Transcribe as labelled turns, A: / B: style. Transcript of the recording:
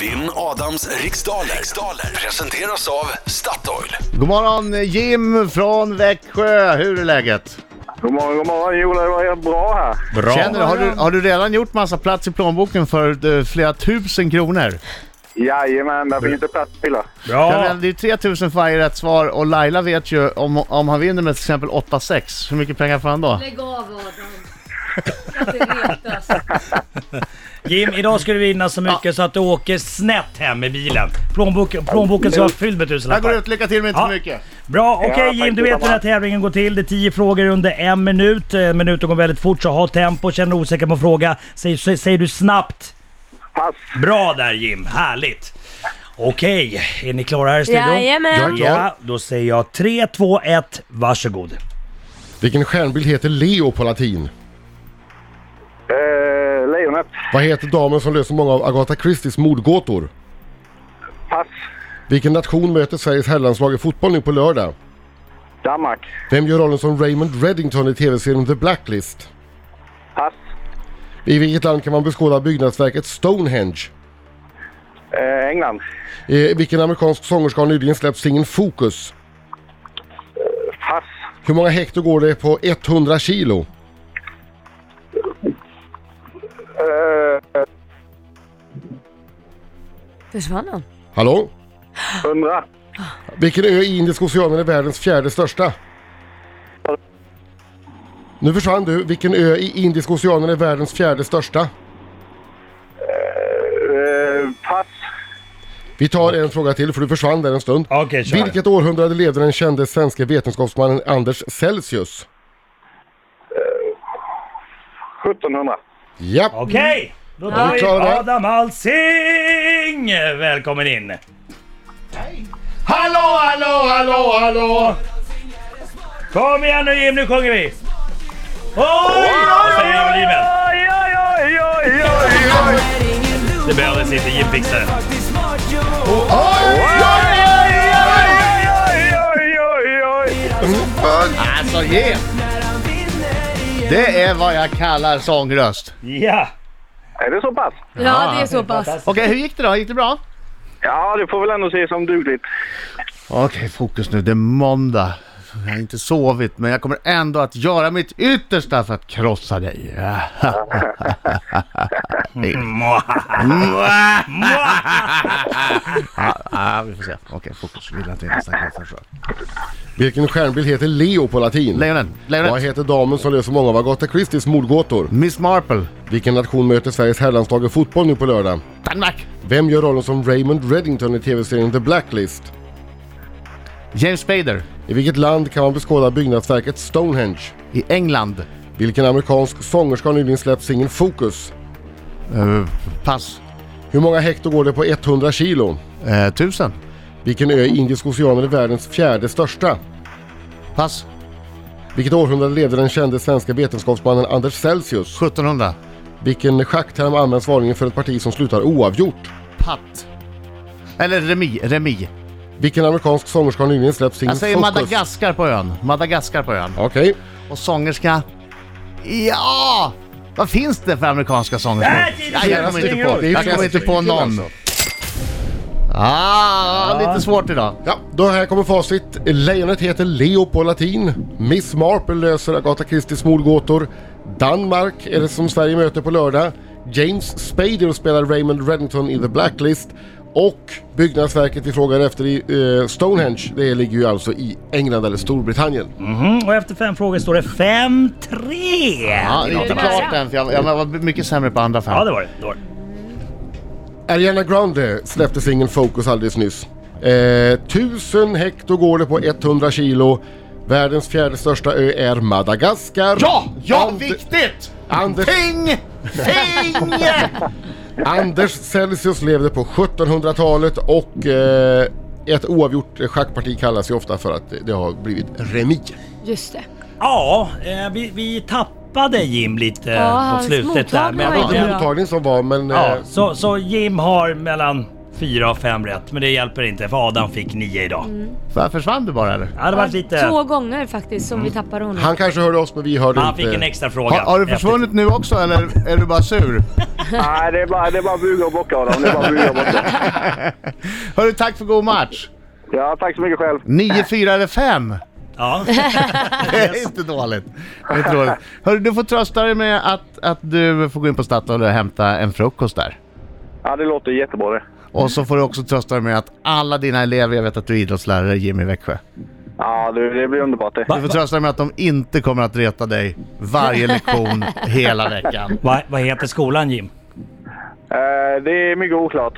A: Vinn Adams riksdaler. riksdaler presenteras av Statoil.
B: God morgon Jim från Växjö, hur är läget?
C: God morgon, god morgon. Jo, det var helt bra här.
D: Bra.
B: Känner du, har, du, har du redan gjort massa plats i plånboken för eh, flera tusen kronor?
C: Jajamän, där finns inte plats till det.
B: Ja.
D: Bra.
B: Det är 3000 för varje rätt svar och Laila vet ju om, om han vinner med till exempel 8-6, hur mycket pengar får han då?
E: Lägg av Adam. Jag ska inte retas.
D: Jim, idag ska du vinna så mycket så att du åker snett hem i bilen. Plånboken, plånboken ska vara fylld med
B: Jag går
D: tusenlappar.
B: ut, lycka till men inte
D: Ja.
B: för mycket.
D: Bra, okej
C: Ja,
D: Jim,
C: tack
D: du vet hur den här
C: detsamma.
D: tävlingen går till. Det är 10 frågor under en minut. Eh, Minuten går väldigt fort så ha tempo. Känner du osäker på en fråga, säg, sä- säger du snabbt.
C: Pass.
D: Bra där Jim, härligt. Okej, är ni klara här i studion?
E: Jajamän.
D: Ja, då säger jag 3, 2, 1, varsågod.
F: Vilken stjärnbild heter Leo på latin?
C: Eh, lejonet.
F: Vad heter damen som löser många av Agatha Christies mordgåtor?
C: Pass.
F: Vilken nation möter Sveriges herrlandslag i fotboll nu på lördag?
C: Danmark.
F: Vem gör rollen som Raymond Reddington i tv-serien The Blacklist?
C: Pass.
F: I vilket land kan man beskåda byggnadsverket Stonehenge?
C: Eh, England.
F: Eh, vilken amerikansk sångerska har nyligen släppt singeln Focus?
C: Pass.
F: Hur många hektar går det på 100 kilo?
C: Eh,
E: Försvann han?
F: Hallå?
C: 100.
F: Vilken ö i Indiska oceanen är världens fjärde största? Nu försvann du. Vilken ö i Indiska oceanen är världens fjärde största?
C: Eh, pass.
F: Vi tar en fråga till för du försvann där en stund.
D: Okej, kör.
F: Vilket århundrade levde den kände svenske vetenskapsmannen Anders Celsius?
C: 1700.
F: Japp!
D: Okej, då tar
F: Ja.
D: Mm. vi
F: Klara.
D: Adam Alsing! Välkommen in!
B: Hallå, hallå, hallå, hallå!
D: Kom igen nu Jim, nu sjunger vi! Oj, oj, oj, oj,
C: Oj, oj, oj, oj, oj.
D: Det behövdes inte, Jim fixade det.
C: Oj, oj, oj, oj.
B: Alltså Jim! Det är vad jag kallar sångröst.
D: Ja!
C: Är det så pass?
E: Ja, det är så pass.
B: Okej, hur gick det då? Gick det bra?
C: Ja, det får väl ändå ses som dugligt.
B: Okej, fokus nu. Det är måndag. Jag har inte sovit, men jag kommer ändå att göra mitt yttersta för att krossa dig. ah, vi får se. Okej, fokus. Vill inte ens nästa försök.
F: Vilken stjärnbild heter Leo på latin?
B: Lejonen,
F: Vad
B: lejonet.
F: heter damen som löser många av Agatha Christies mordgåtor?
B: Miss Marple.
F: Vilken nation möter Sveriges herrlandslag i fotboll nu på lördag?
B: Danmark.
F: Vem gör rollen som Raymond Reddington i tv-serien The Blacklist?
B: James Spader.
F: I vilket land kan man beskåda byggnadsverket Stonehenge?
B: I England.
F: Vilken amerikansk sångerska har nyligen släppt singeln Focus?
B: Eh, pass.
F: Hur många hektar går det på 100 kilo?
B: Eh, tusen.
F: Vilken ö i Indiska oceanen är världens fjärde största?
B: Pass.
F: Vilket århundrade levde den kände svenska vetenskapsmannen Anders Celsius?
B: 1700.
F: Vilken schackterm används vanligen för ett parti som slutar oavgjort?
B: Patt. Eller remi. Remi.
F: Vilken amerikansk sångerska har nyligen släppt singeln
B: Jag säger
F: Focus?
B: Madagaskar på ön. Madagaskar på ön.
F: Okej.
B: och sångerska. Ja! Vad finns det för amerikanska sångerskor?
D: Äh,
B: Ja, jag kommer inte på,
F: Det är
B: jag kommer
F: flest
B: inte på
F: stycken
B: någon.
F: alltså.
B: Ah, lite svårt idag.
F: Ja, då här kommer facit. Lejonet heter Leo på latin. Miss Marple löser Agatha Christies mordgåtor. Danmark är det som Sverige möter på lördag. James Spader spelar Raymond Reddington i The Blacklist. Och byggnadsverket vi frågar efter i eh, Stonehenge, det ligger ju alltså i England eller Storbritannien.
D: Mm, och efter fem frågor står det 5-3!
B: Ja, det är inte klart än, för jag, jag var mycket sämre på andra
D: Ja,
B: fem.
D: det var det. det, var det.
F: Ariana Grande släppte singeln Focus alldeles nyss. Eh, 1000 hektar går det på 100 kilo. Världens fjärde största ö är Madagaskar.
B: Ja! Ja,
F: And-
B: viktigt!
F: Anders-
B: Ping! Ping!
F: Anders Celsius levde på 1700-talet och eh, ett oavgjort schackparti kallas ju ofta för att det har blivit remi.
E: Just det.
D: ja eh, vi, vi tappade Jim lite
E: Ja,
D: på
E: hans
D: slutet där.
E: mottagning
D: Men
E: var
D: jag
F: Det
E: inte
D: tycker-
F: var eh,
E: bra.
F: mottagningen som var men...
D: ja,
F: Eh,
D: så, så Jim har mellan fyra av fem rätt, men det hjälper inte för Adam fick nio idag.
B: Fan, Försvann du bara eller?
D: Ja, det hade varit lite...
E: Mm. Två gånger faktiskt som vi tappade honom.
F: Han kanske hörde oss men vi hörde
D: Han
F: inte.
D: fick en extra fråga.
B: Har, har du försvunnit nu också eller är du bara sur?
C: Nej, det är bara, det är bara buga och bocka Adam. Det är bara buga och bocka.
B: Hörru, tack för god match!
C: Ja, tack så mycket själv.
B: 9, 4 eller 5?
D: Ja.
B: Det är inte dåligt. Det är inte dåligt. Hörru, du får trösta dig med att, att du får gå in på Statoil och hämta en frukost där.
C: Ja, det låter jättebra det.
B: Och så får du också trösta dig med att alla dina elever, jag vet att du är idrottslärare Jimmy i Växjö.
C: Ja, du, det blir underbart det.
B: Du får trösta dig med att de inte kommer att reta dig varje lektion hela veckan.
D: Vad, vad heter skolan Jim?
C: Eh, det är mycket oklart.